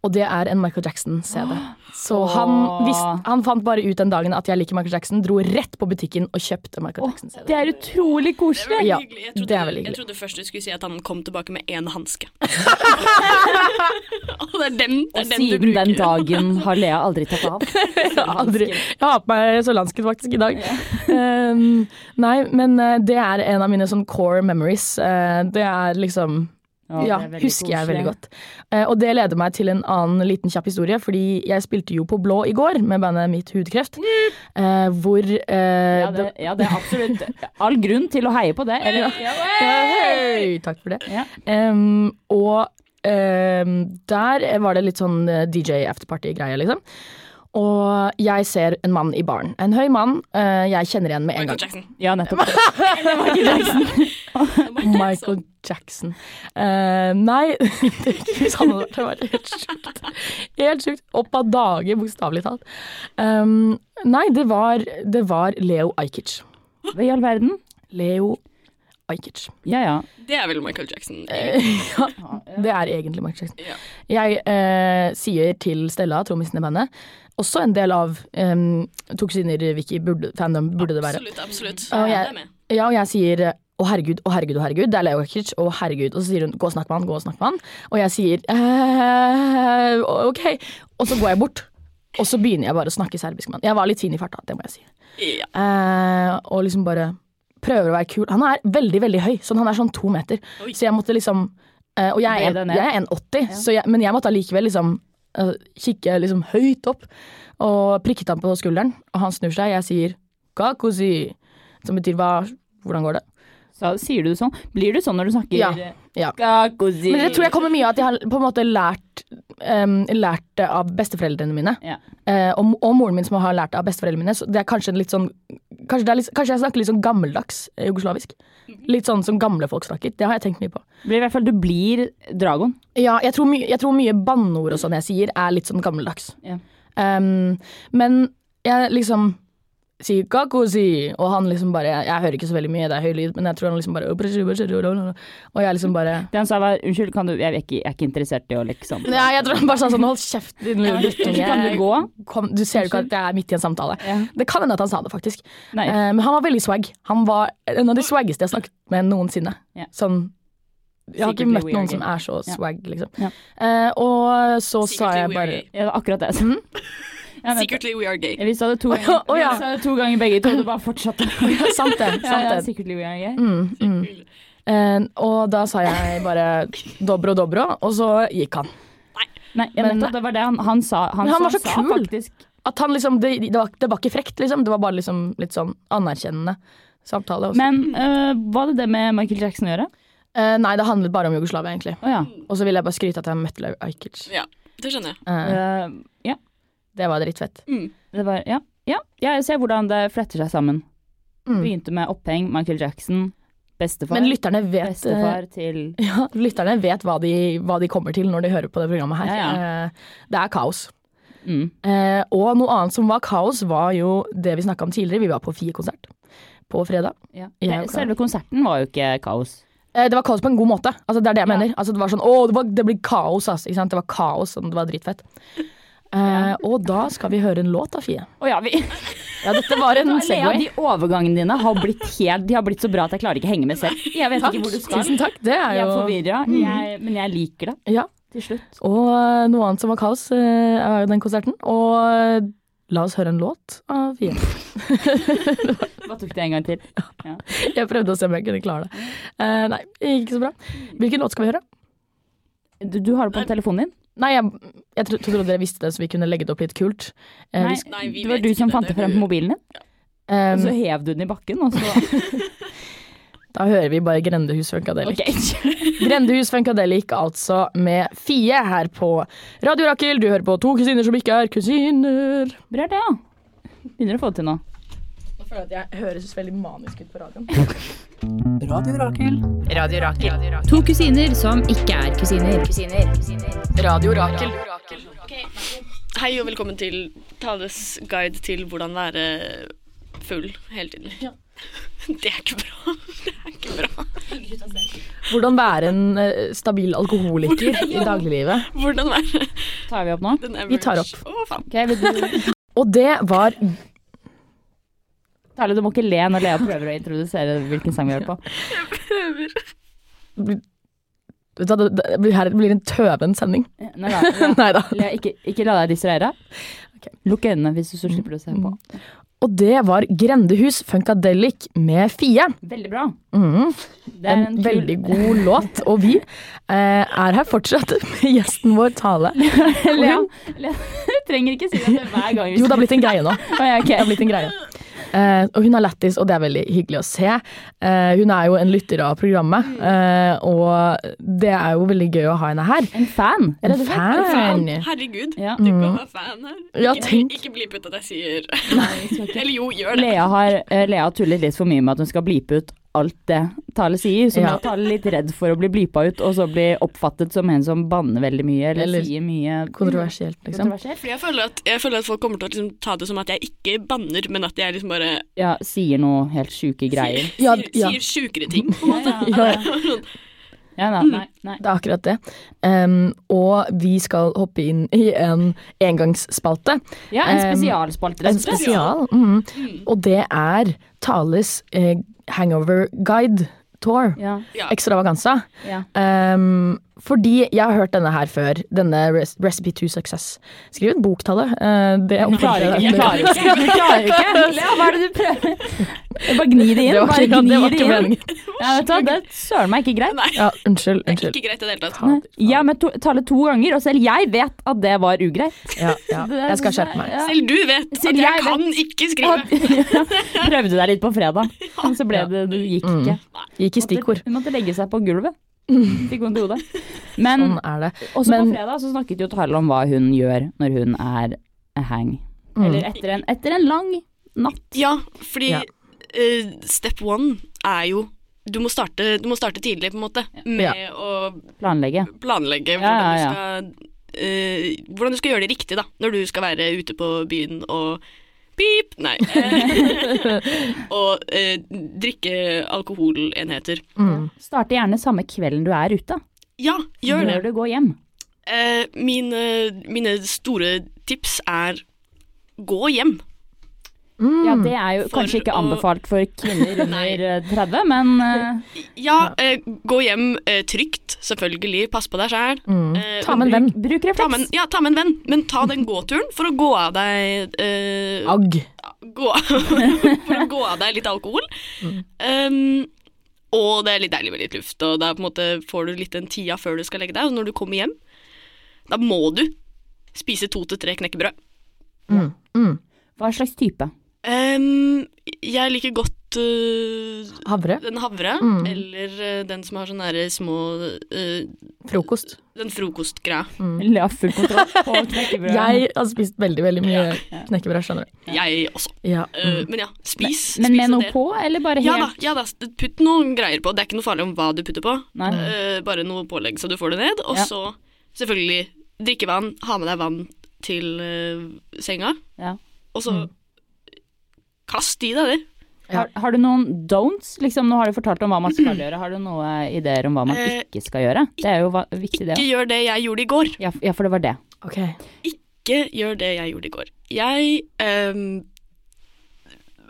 Og det er en Michael Jackson-CD. Så han, visste- han fant bare ut den dagen at jeg liker Michael Jackson, dro rett på butikken og kjøpte Michael Jackson-CD. Det er utrolig Det er koselig! veldig Ja, hyggelig. Jeg det trodde, er veldig jeg hyggelig. trodde først du skulle si at han kom tilbake med én hanske. og det er den, det er Og den du siden bruker. den dagen har Lea aldri tatt *laughs* av. Jeg har Aldri. Jeg har på meg sørlandsken faktisk i *laughs* dag. Um, nei, men eh, det er en av mine sånn core memories. Eh, det er liksom Å, Ja, det er veldig husker jeg veldig koselig. godt. Eh, og det leder meg til en annen liten kjapp historie, fordi jeg spilte jo på Blå i går med bandet Mitt Hudkreft, eh, hvor eh, Ja det, ja, det er absolutt *laughs* all grunn til å heie på det. Eller, Hei! Takk for det. Ja. Em, og em, der var det litt sånn eh, DJ afterparty-greie, liksom. Og jeg ser en mann i baren. En høy mann eh, jeg kjenner igjen med en Michael gang. Jackson. ja nettopp. Michael Jackson. Eh, nei *laughs* Hvis han hadde vært det, hadde det vært helt sjukt. Helt sjukt. Opp av dage, bokstavelig talt. Em, nei, det var, det var Leo Ajkic. Hva i all verden? Leo Ajkic. Ja ja. Det er vel Michael Jackson. Det er egentlig Michael Jackson. Ja. Jeg eh, sier til Stella, trommisen i bandet, også en del av eh, Tok Synder-Vicky, fandom burde det være. Absolutt, absolutt. Og Ja, det er jeg, med. ja, og jeg sier å herregud, å herregud, å herregud. Det er Leo Kic, å herregud. Og så sier hun gå og snakk med han, gå og snakk med han. Og jeg sier eh, ok. Og så går jeg bort. Og så begynner jeg bare å snakke serbisk med han. Jeg var litt fin i farta, det må jeg si. Ja. Eh, og liksom bare prøver å være kul. Han er veldig, veldig høy. Sånn, han er sånn to meter. Oi. Så jeg måtte liksom eh, Og jeg Bøye er, deg en- ned. jeg er 1,80, så jeg- men jeg måtte allikevel liksom eh, kikke liksom høyt opp. Og prikket han på skulderen, og han snur seg. Jeg sier kakosi, som betyr hva Hvordan går det? Så sier du sånn. Blir du sånn når du snakker Ja, ja. Kakosi. Men det tror jeg kommer mye av at jeg har på en måte lært, em, lært det av besteforeldrene mine. Ja. Eh, og, og moren min som har lært det av besteforeldrene mine. Så det er kanskje en litt sånn Kanskje, det er litt, kanskje jeg snakker litt sånn gammeldags eh, jugoslavisk. Mhm. Litt sånn som gamle folk snakker. Det har jeg tenkt mye på. Blir, I hvert fall du blir dragon. Ja, jeg tror, my jeg tror mye banneord og sånn jeg sier, er litt sånn gammeldags. Ja. Em, men jeg liksom sier 'kakosi', og han liksom bare jeg, jeg hører ikke så veldig mye, det er høy lyd, men jeg tror han liksom bare Og jeg liksom bare Det han sa var unnskyld, kan du Jeg er ikke, jeg er ikke interessert i å liksom Nei, jeg tror han bare sa sånn 'hold kjeft, din lille Unnskyld, kan du guttunge'. gå? Kom, du ser jo ikke at jeg er midt i en samtale. Ja. Det kan hende at han sa det, faktisk. Nei. Eh, men han var veldig swag. Han var en av de swaggeste jeg har snakket med noensinne. Ja. Sånn Jeg har ikke Secretly møtt weird noen guy. som er så Ja. swag, liksom. Ja. Eh, og så sa Secretly jeg we are bare *laughs* gay. Ja, det er akkurat det. jeg sa. Ja, nettopp. Secretly we are gay. Vi sa det to ganger, Å, å, ja. vi sa det to ganger begge to, og det bare *laughs* fortsatte. Sant det. Sant Ja, ja, det. sikkert Louis Arnge. Mm, mm. Eh, og da sa jeg bare dobro, dobro, og så gikk han. Nei, ja, Men- nettopp, det var det han, han sa. Han, Men han var så sa kul. Faktisk, At han liksom Det, det, var, det var ikke frekt, liksom. Det var bare liksom litt sånn anerkjennende samtale. Også. men øh, hva hadde det med Michael Jackson å gjøre? Eh, nei, det handlet bare om Jugoslavia, egentlig. Å ja. Og så ville jeg bare skryte at jeg møtte Lau Ajkic. Ja, det skjønner jeg. Eh, Øh, ja. det var drittfett. Det var, ja. ja. ja jeg ser hvordan det fletter seg sammen. Mm. Begynte med oppheng, Michael Jackson, bestefar. Men lytterne eh, vet, Bestefar til eh, ja, *laughs* lytterne vet hva, de, hva de kommer til når de hører på det programmet her. Ja, ja. Eh, det er kaos. mm. Eh, og noe annet som var kaos, var jo det vi snakka om tidligere. Vi var på Fie-konsert på fredag. ja. Jeg er jo Selve konserten var jo ikke kaos. Eh, Det var kaos på en god måte. Altså, det er det jeg mener. Altså, det var sånn, å, det, var, det blir kaos, ass. Ikke sant? Det var kaos, og det var dritfett. Eh, og da skal vi høre en låt da, Fie. Å ja, *laughs* vi... Ja, dette var *laughs* en Lea, Segway. de overgangene dine har blitt helt De har blitt så bra at jeg klarer ikke å henge med selv. Jeg vet ikke hvor du skal. Tusen takk. Det er Jeg er Mm. jo forvirra, jeg, men jeg liker det ja. til slutt. Og eh, noe annet som var kaos, eh, er jo den konserten. Og eh, la oss høre en låt av Fie. *laughs* Hva tok det en gang til? Ja. Jeg prøvde å se om jeg kunne klare det. Eh, nei, det gikk ikke så bra. Hvilken låt skal vi høre? Du, du har det på telefonen din? Eh, Nei, jeg, jeg tro- trodde dere visste det, så vi kunne legge det opp litt kult. Eh, vi Nei, sk- Nei, vi det var vet du ikke som det, fant det det er frem du. på mobilen din, eh, og så hev du den i bakken, og *laughs* så da hører vi bare Grendehus Funkadelic. *laughs* OK. Grendehus Funkadelic, altså, med Fie her på Radio Rakel. Du hører på to kusiner som ikke er kusiner. *laughs* Bra, det, ja. Begynner å få det til nå. Jeg føler at jeg høres veldig manisk ut på radioen. Radio Rakel. To kusiner som ikke er kusiner. Radio Rakel. Hei og velkommen til Tales guide til hvordan være full hele tiden. *laughs* Det er ikke bra. *laughs* Det er ikke bra. Hvordan være en eh, stabil alkoholiker i dagliglivet. Hvordan være Tar vi opp nå? den average Vi tar opp. Å, faen. Ok, vil du... Og det var Tarle, du må ikke le når Lea prøver å introdusere hvilken sang vi hører på. Vet du hva, det- det blir- Her blir en tøven sending. Eh, Nei da. *laughs* Lea, Nei da. Lea, ikke, ikke la deg distrahere. Ok. Mm. Lukk øynene hvis du så slipper du å se på. Og det var Grendehus Funkadelic med Fie. Veldig bra. Mhm. Det en, veldig god låt. Og *laughs* vi eh, er her fortsatt med gjesten vår, Tale. *laughs* Lea, Lea, du trenger ikke si det hver gang. Jo, det har blitt en greie nå. Å, ja, ok. Det har blitt en greie. Eh, og hun er lættis, og det er veldig hyggelig å se. Eh, hun er jo en lytter av programmet, eh, og det er jo veldig gøy å ha henne her. En fan. En rett og slett. fan. Faen, Herregud. Ja. Du kan være fan her. Mm. Ja, Ikke- tenk. Ikke bli ut at jeg sier *laughs* Eller jo, gjør det. Lea har eh, Lea har tullet litt for mye med at hun skal blipe ut alt det Tale sier. Så nå Ja. er Tale litt redd for å bli blipa ut, og så bli oppfattet som en som banner veldig mye eller, Eller sier mye Kontroversielt, liksom. kontroversielt. Fordi jeg føler, at, jeg føler at folk kommer til å liksom ta det som at jeg ikke banner, men at jeg liksom bare Ja, sier noe helt sjuke greier. sier, Ja, sier, ja. sier sjukere ting. Ja, Ja, nei, nei, nei. det er akkurat det. Em, og vi skal hoppe inn i en engangsspalte. Ja, Um, en Em, spesialspalte. En rett og slett. spesial. mhm. Og det er Tales eh, Hangover Guide Tour. Ja, Ja. Ekstravaganza. ja. Ehm, fordi jeg har hørt denne her før. Denne Res- Recipe to Success. Skriv en boktallet. det Jeg klarer ikke. Jeg klarer *laughs* ikke. Du klarer ikke. *laughs* Lea, hva er det du prøver? Bare gni det inn. Det var Bare ikke, ja, gni det var det ikke inn. *laughs* meningen. Ja, vet du, hva, det er søren meg ikke greit. Nei, Ja, unnskyld. det *laughs* er unnskyld. ikke greit i det hele tatt. Jeg har møtt to- Tale to ganger, og selv jeg vet at det var ugreit. Ja, *laughs* ja. Jeg skal skjerpe meg. sånn Ja. Selv du vet at Selv jeg, jeg kan ikke skrive. *laughs* Prøvde deg litt på *laughs* fredag, men så ble det Du gikk Mm. ikke. Gikk i stikkord. Måtte, hun måtte legge seg på gulvet. Mm. Fikk vondt i hodet. Men Sånn er det. også men- på fredag så snakket jo Tarle om hva hun gjør når hun er hang. Mm, Mm. Eller etter en, etter en lang natt. Ja, fordi Ja. eh, step one er jo du må, starte, du må starte tidlig, på en måte, med å Planlegge. planlegge hvordan, Ja, ja, ja. Du skal, eh, hvordan du skal gjøre det riktig da, når du skal være ute på byen og *laughs* pip, nei, eh, og eh, drikke alkoholenheter. mm. Starte gjerne samme kvelden du er ute. Ja, gjør det. Når du går hjem. Eh, mine, mine store tips er gå hjem. Ja, det er jo Mm. For kanskje ikke å- anbefalt for kvinner Nei. under eh, 30, men eh, Ja, eh, gå hjem eh, trygt, selvfølgelig. Pass på deg sjæl. Eh, Mm. Ta med en venn. bruk ta med, refleks. en- ja, ta med en venn, men ta den gåturen for å gå av deg eh, Agg. gå, *laughs* For å gå av deg litt alkohol. Mm. Um, og det er litt deilig med litt luft, og da på en måte får du litt den tida før du skal legge deg. Og når du kommer hjem, da må du spise to til tre knekkebrød. Hva slags type? Um, jeg liker godt eh, Havre. den havre, Mm. eller eh, den som har sånne der små eh, Frokost. Den frokostgreia. Lea full kontroll *laughs* på knekkebrødet. Jeg har spist veldig veldig mye knekkebrød, skjønner du. Mm. Jeg også. Ja. Eh, men ja, Mm. spis. Men spis med en noe del. på, eller bare Ja da, helt? ja da, putt noen greier på. Det er ikke noe farlig om hva du putter på. Nei. Eh, bare noe pålegg så du får det ned. Og Ja. så selvfølgelig drikke vann. Ha med deg vann til eh, senga. Ja. Mm. Og så kast i deg det. Har, har du noen don'ts? Liksom, nå har du fortalt om hva man *clears throat* skal gjøre. Har du noen ideer om hva man Eh, ikke skal gjøre? Det er jo va- viktig, det Ikke òg. gjør det jeg gjorde i går. Ja, f- ja, for det var det. Ok. Ikke gjør det jeg gjorde i går. Jeg ehm,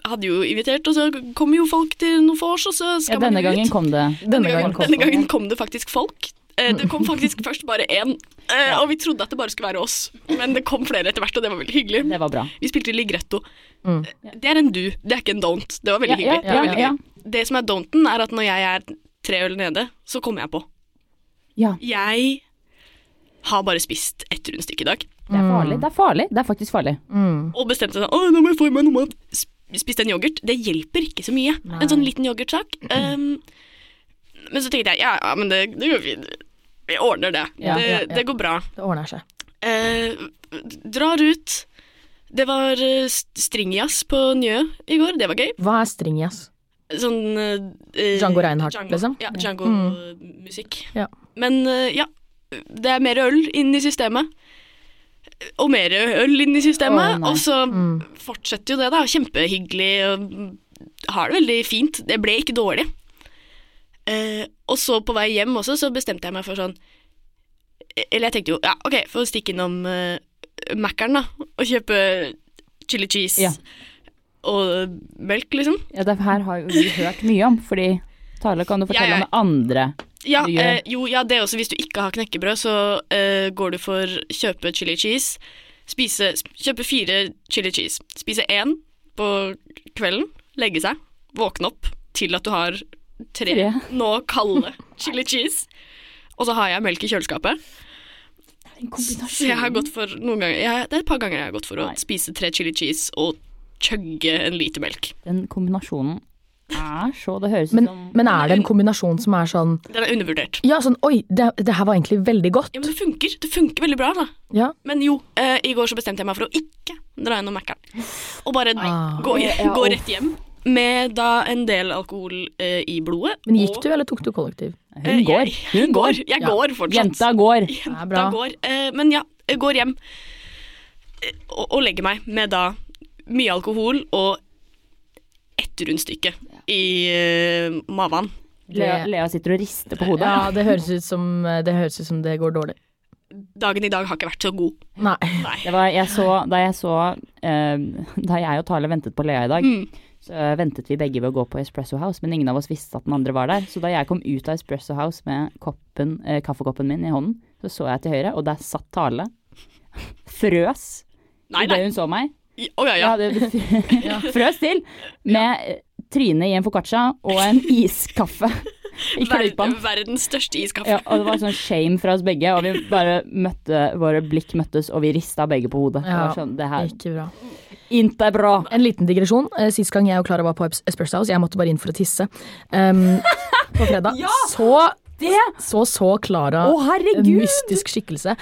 hadde jo invitert, og så kom jo folk til noen vors, og så Ja, skal man denne jo ut. gangen kom det. Denne gangen kom denne gangen folk. kom det faktisk folk. Eh, Det kom faktisk først bare én, eh, og vi trodde at det bare skulle være oss. Men det kom flere etter hvert, og det var veldig hyggelig. Det var bra. Vi spilte Ligretto. Eh, Mm. Det er en du, det er ikke en don't. Det var *laughs* veldig hyggelig. Det, ja, var ja, veldig gøy. det som er don'ten, er at når jeg er tre øl nede, så kommer jeg på. Ja. Jeg har bare spist ett rundstykke i dag, Det er farlig. Det er farlig. Det er faktisk farlig. Mm. og bestemte seg sånn, «Å, nå må jeg få i meg noe mat. Sp- Spiste en yoghurt. Det hjelper ikke så mye. Nei. En sånn liten yoghurtsak. Um, men så tenkte jeg, ja, ja men det, det går fint. Jeg ordner det. Ja, det, ja, ja. det går bra. Det ordner seg. Eh, drar ut. Det var eh, st- stringjazz på Njø i går, det var gøy. Hva er stringjazz? Sånn eh, Django Reinhardt, Django- liksom? Ja, Mm. Django-musikk. Ja. Men eh, ja, det er mer øl inn i systemet. Og mer øl inn i systemet. Å, nei. og så Mm. fortsetter jo det, da. Kjempehyggelig. Og mm, har det veldig fint. Det ble ikke dårlig. Eh, og så på vei hjem også, så bestemte jeg meg for sånn Eller jeg tenkte jo ja, OK, få stikke innom uh, Mækkern, da. Og kjøpe chili cheese Ja. og melk, liksom. Ja, det her har jo vi hørt mye om, fordi Tale, kan du fortelle Ja, om ja. det andre? Ja, du gjør. eh, jo, ja, det er også. Hvis du ikke har knekkebrød, så eh, går du for kjøpe chili cheese. Spise, sp- kjøpe fire chili cheese. Spise én på kvelden. Legge seg. Våkne opp til at du har tre Tre. nå kalde chili cheese. Og så har jeg melk i kjøleskapet. Så jeg har gått for noen ganger jeg, Det er et par ganger jeg har gått for å Nei. spise tre chili cheese og chugge en liter melk. Den kombinasjonen er så Det høres ut Men, som men er det en kombinasjon som er sånn Den er undervurdert. Ja, sånn oi, det, det her var egentlig veldig godt. Ja, men det funker. Det funker veldig bra, da. Ja. Men jo, eh, i går så bestemte jeg meg for å ikke dra gjennom Mækkern. Og bare Ah. gå, Ja, ja, gå uff. rett hjem. Med da en del alkohol eh, i blodet. Men gikk og- du, eller tok du kollektiv? Eh, Hun går. Jeg, Hun går. Jeg Ja. går fortsatt. *laughs* Jenta går. Det er Da går. Eh, men ja, jeg går hjem. Eh, Og, og legger meg med da mye alkohol og ett rundstykke i eh, maven. Lea, Lea sitter og rister på hodet. Ja, det høres ut som det, høres ut som det går dårlig. Dagen i dag har ikke vært så god. Nei. Nei. Det var, jeg så, da jeg så eh, Da jeg og Tale ventet på Lea i dag, Mm. så eh, ventet vi begge ved å gå på Espresso House, men ingen av oss visste at den andre var der. Så da jeg kom ut av Espresso House med koppen, eh, kaffekoppen min i hånden, så så jeg til høyre, og der satt Tale. Frøs Nei, nei. idet hun så meg. I- Å ja, ja. Ja, det, *laughs* frøs til med eh, trynet i en foccaccia og *laughs* en iskaffe i klypa. Ver verdens største iskaffe. Ja, og det var sånn shame fra oss begge, og vi bare møtte, våre blikk møttes, og vi rista begge på hodet. Det Ja. var sånn, det her Ikke bra. ikke bra. En liten digresjon. Eh, Sist gang jeg og Klara var på Eps- Espresso House, jeg måtte bare inn for å tisse em, på fredag, så Det så så Klara Å, en herregud! mystisk skikkelse.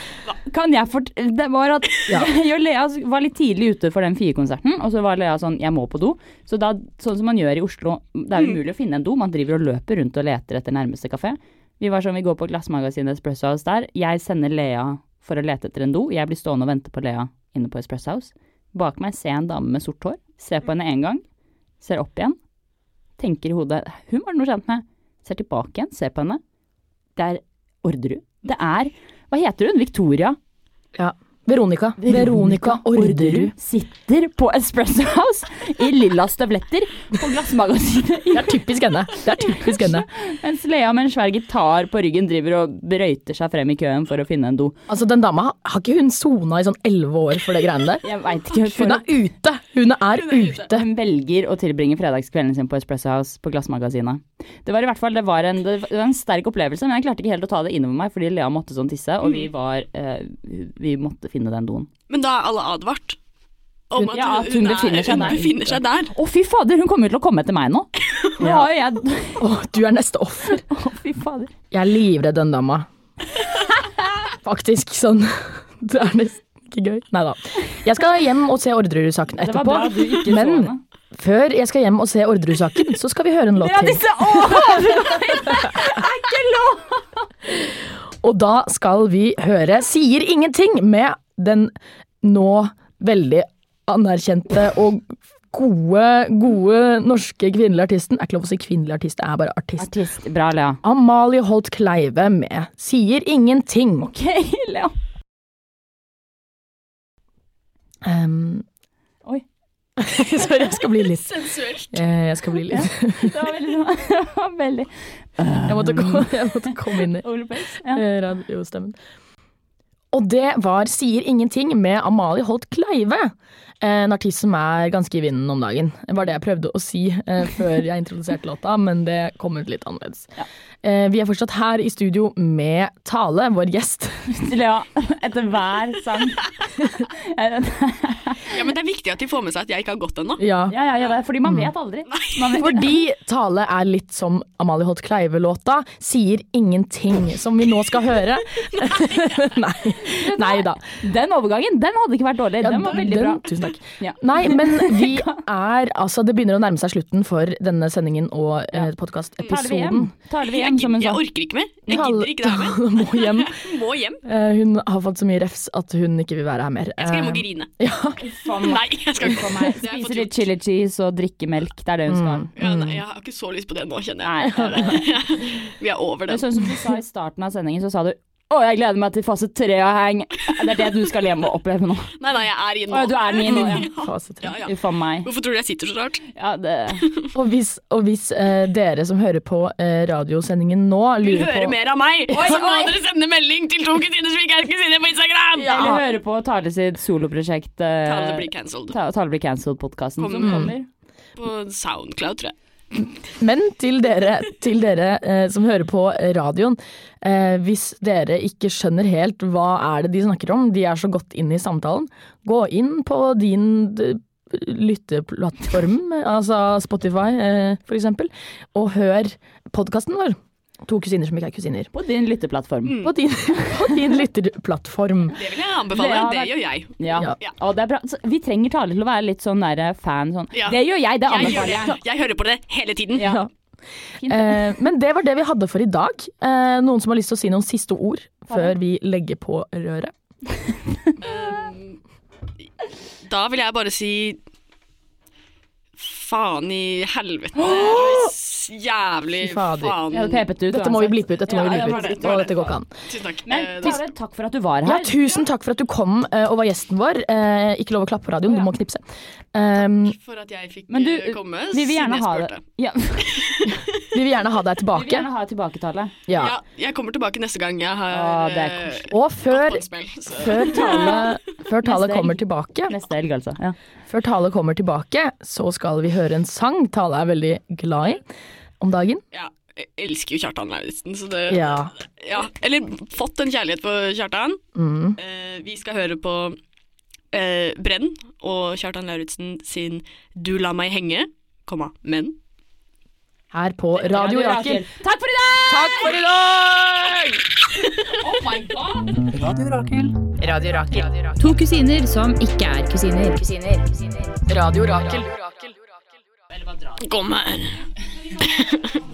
Kan jeg fort... Det var at *laughs* Ja. jeg og Lea var litt tidlig ute for den FIE-konserten, og så var Lea sånn 'jeg må på do'. Så da, sånn som man gjør i Oslo, det er umulig å finne en do. Man driver og løper rundt og leter etter nærmeste kafé. Vi var sånn, vi går på Glassmagasinet Espresso House der. Jeg sender Lea for å lete etter en do. Jeg blir stående og vente på Lea inne på Espresso House. Bak meg ser jeg en dame med sort hår. Ser på henne én gang, ser opp igjen. Tenker i hodet 'hun var det noe kjent med'. Ser tilbake igjen, ser på henne. Det er Orderud. Det er Hva heter hun? Victoria? Ja. Veronica. Veronica Orderud. sitter på Espresso House i lilla støvletter på glassmagasinet. Det er typisk henne. Det er typisk henne. Mens Lea med en svær gitar på ryggen driver og brøyter seg frem i køen for å finne en do. Altså, Den dama, har- har ikke hun sona i sånn elleve år for det greiene der? Jeg veit ikke Hun for er ute! Hun er ute. hun velger å tilbringe fredagskvelden sin på Espresso House på Glassmagasinet. Det var i hvert fall det var en, det var en sterk opplevelse, men jeg klarte ikke helt å ta det innover meg fordi Lea måtte sånn tisse, og vi var eh, Vi måtte finne den doen. Men da er alle advart om Hun- at, ja, at hun er- befinner seg hun der. befinner seg der. Å, fy fader, hun kommer jo til å komme etter meg nå! Nå har jo jeg Å, du er neste offer. Å, fy fader. Jeg er livredd den dama. Faktisk sånn. Det er nesten ikke gøy. Nei da. Jeg skal hjem og se Orderud-saken Det var etterpå. bra du ikke så Men henne. før jeg skal hjem og se Orderud-saken, så skal vi høre en låt Ja, til. disse årene er ikke lov! Og da skal vi høre Sier ingenting med den nå veldig anerkjente og gode, gode norske kvinnelige artisten. Er ikke lov å si kvinnelig artist, det er bare artist. Artist. Bra, Lea. Amalie Holt Kleive med 'Sier ingenting'. Ok, *laughs* Lea. Ehm, Oi. *laughs* Sorry, jeg skal bli litt Sensuelt. eh, Jeg skal bli litt Det var veldig, *laughs* det var veldig. Jeg *laughs* måtte komme, jeg måtte komme inn i Ole Pace. Ja. eh, radiostemmen. Og det var 'Sier ingenting' med Amalie Holt Kleive. eh, En artist som er ganske i vinden om dagen. Det var det jeg prøvde å si eh, før jeg introduserte låta, men det kom ut litt annerledes. Eh, vi er fortsatt her i studio med Tale, vår gjest. Lea, etter hver sang. *laughs* Jeg er redd. Ja, men det er viktig at de får med seg at jeg ikke har gått ennå. Ja. Ja, ja, ja, det er fordi man vet aldri. Man vet Fordi Tale er litt som Amalie Holt Kleive-låta, sier ingenting, som vi nå skal høre. *laughs* Nei. Nei da. Den overgangen den hadde ikke vært dårlig. den var veldig bra. Tusen takk. Ja. *laughs* Nei, men vi *laughs* er altså Det begynner å nærme seg slutten for denne sendingen og eh, Tar vi hjem? podkastepisoden. Tar vi hjem Jeg, som en jeg sånn orker ikke mer. Jeg gidder ikke *laughs* det her mer. Tale må hjem. Må hjem. Eh, Hun har fått så mye refs at hun ikke vil være her mer. Jeg skal hjem og Eh, grine. Ja. Nei, jeg skal ikke. *laughs* Nei, Det har jeg Spise fått litt gjort. chili cheese og drikke melk. Det er det hun skal. Ja, nei, jeg har ikke så lyst på det nå, kjenner *laughs* jeg. Vi er over Det den. er sånn som du sa i starten av sendingen, så sa du å, jeg gleder meg til fase tre av heng. Det er det du skal hjem og oppleve nå. Nei, nei, jeg er i Å, ja, du nå. er den i nå, *laughs* ja. Fase tre. Ja, ja. Uff a meg. Hvorfor tror du jeg sitter så rart? Ja, det Og hvis, og hvis eh, dere som hører på eh, radiosendingen nå, Vil lurer høre på mer av meg, så må dere sende melding til to kusiner som ikke er kusiner på Instagram! Eller høre på Tale sitt soloprosjekt eh, Tale blir cancelled Ta- Tale blir cancelled-podkasten som Mm. kommer. på Soundcloud, tror jeg. Men til dere, til dere eh, som hører på radioen, eh, hvis dere ikke skjønner helt hva er det de snakker om, de er så godt inne i samtalen, gå inn på din d- lytteplattform, altså Spotify eh, for eksempel, og hør podkasten vår. To kusiner som ikke er kusiner. På din lytteplattform. Mm. På din, på din lytterplattform. Det vil jeg anbefale. Ja, Det det- gjør jeg. Ja. Ja. Og det er bra. Så vi trenger Tale til å være litt sånn der fan sånn. Ja. Det gjør jeg, det Jeg, gjør anbefaler det. jeg. jeg hører på det hele tiden. Ja. Fint. Eh, men det var det vi hadde for i dag. Eh, noen som har lyst til å si noen siste ord før vi legger på røret? Da vil jeg bare si faen i *gasps* helvete. eller s- Jævlig Fy fader. faen. Jeg hadde pepet ut. Dette må vi uansett. blippe ut. Dette må Ja, vi ja, det blippe var det, ut. det Og var det. dette går ikke an. Tusen takk. Men Eh, Tale, takk for at du var Ja, her. tusen takk for at du kom eh, og var gjesten vår. Eh, Ikke lov å klappe på radioen, du må knipse. Um, Takk for at jeg fikk Men du, eh, komme. vi vil gjerne siden jeg ha spurte. det. Ja. *laughs* Vi vi vil gjerne ha deg vil tilbake. gjerne ha tilbaketale. Ja. Ja, jeg kommer tilbake neste gang jeg har Å, det er eh, koselig. Og gått før, på et spill. Så. før Tale, før tale Neste helg. kommer tilbake, Neste helg, altså. Ja. før tale kommer tilbake, så skal vi høre en sang Tale er veldig glad i om dagen. Ja, jeg elsker jo Kjartan Lauritzen, så det Ja. ja. Eller fått en kjærlighet for Kjartan. Mm. Eh, vi skal høre på eh, Brenn og Kjartan Lauritzen sin 'Du la meg henge', komma, men. Her på Radio Rakel. Takk for i dag! Takk for i dag! To kusiner som ikke er kusiner. Radio Rakel. Kom her.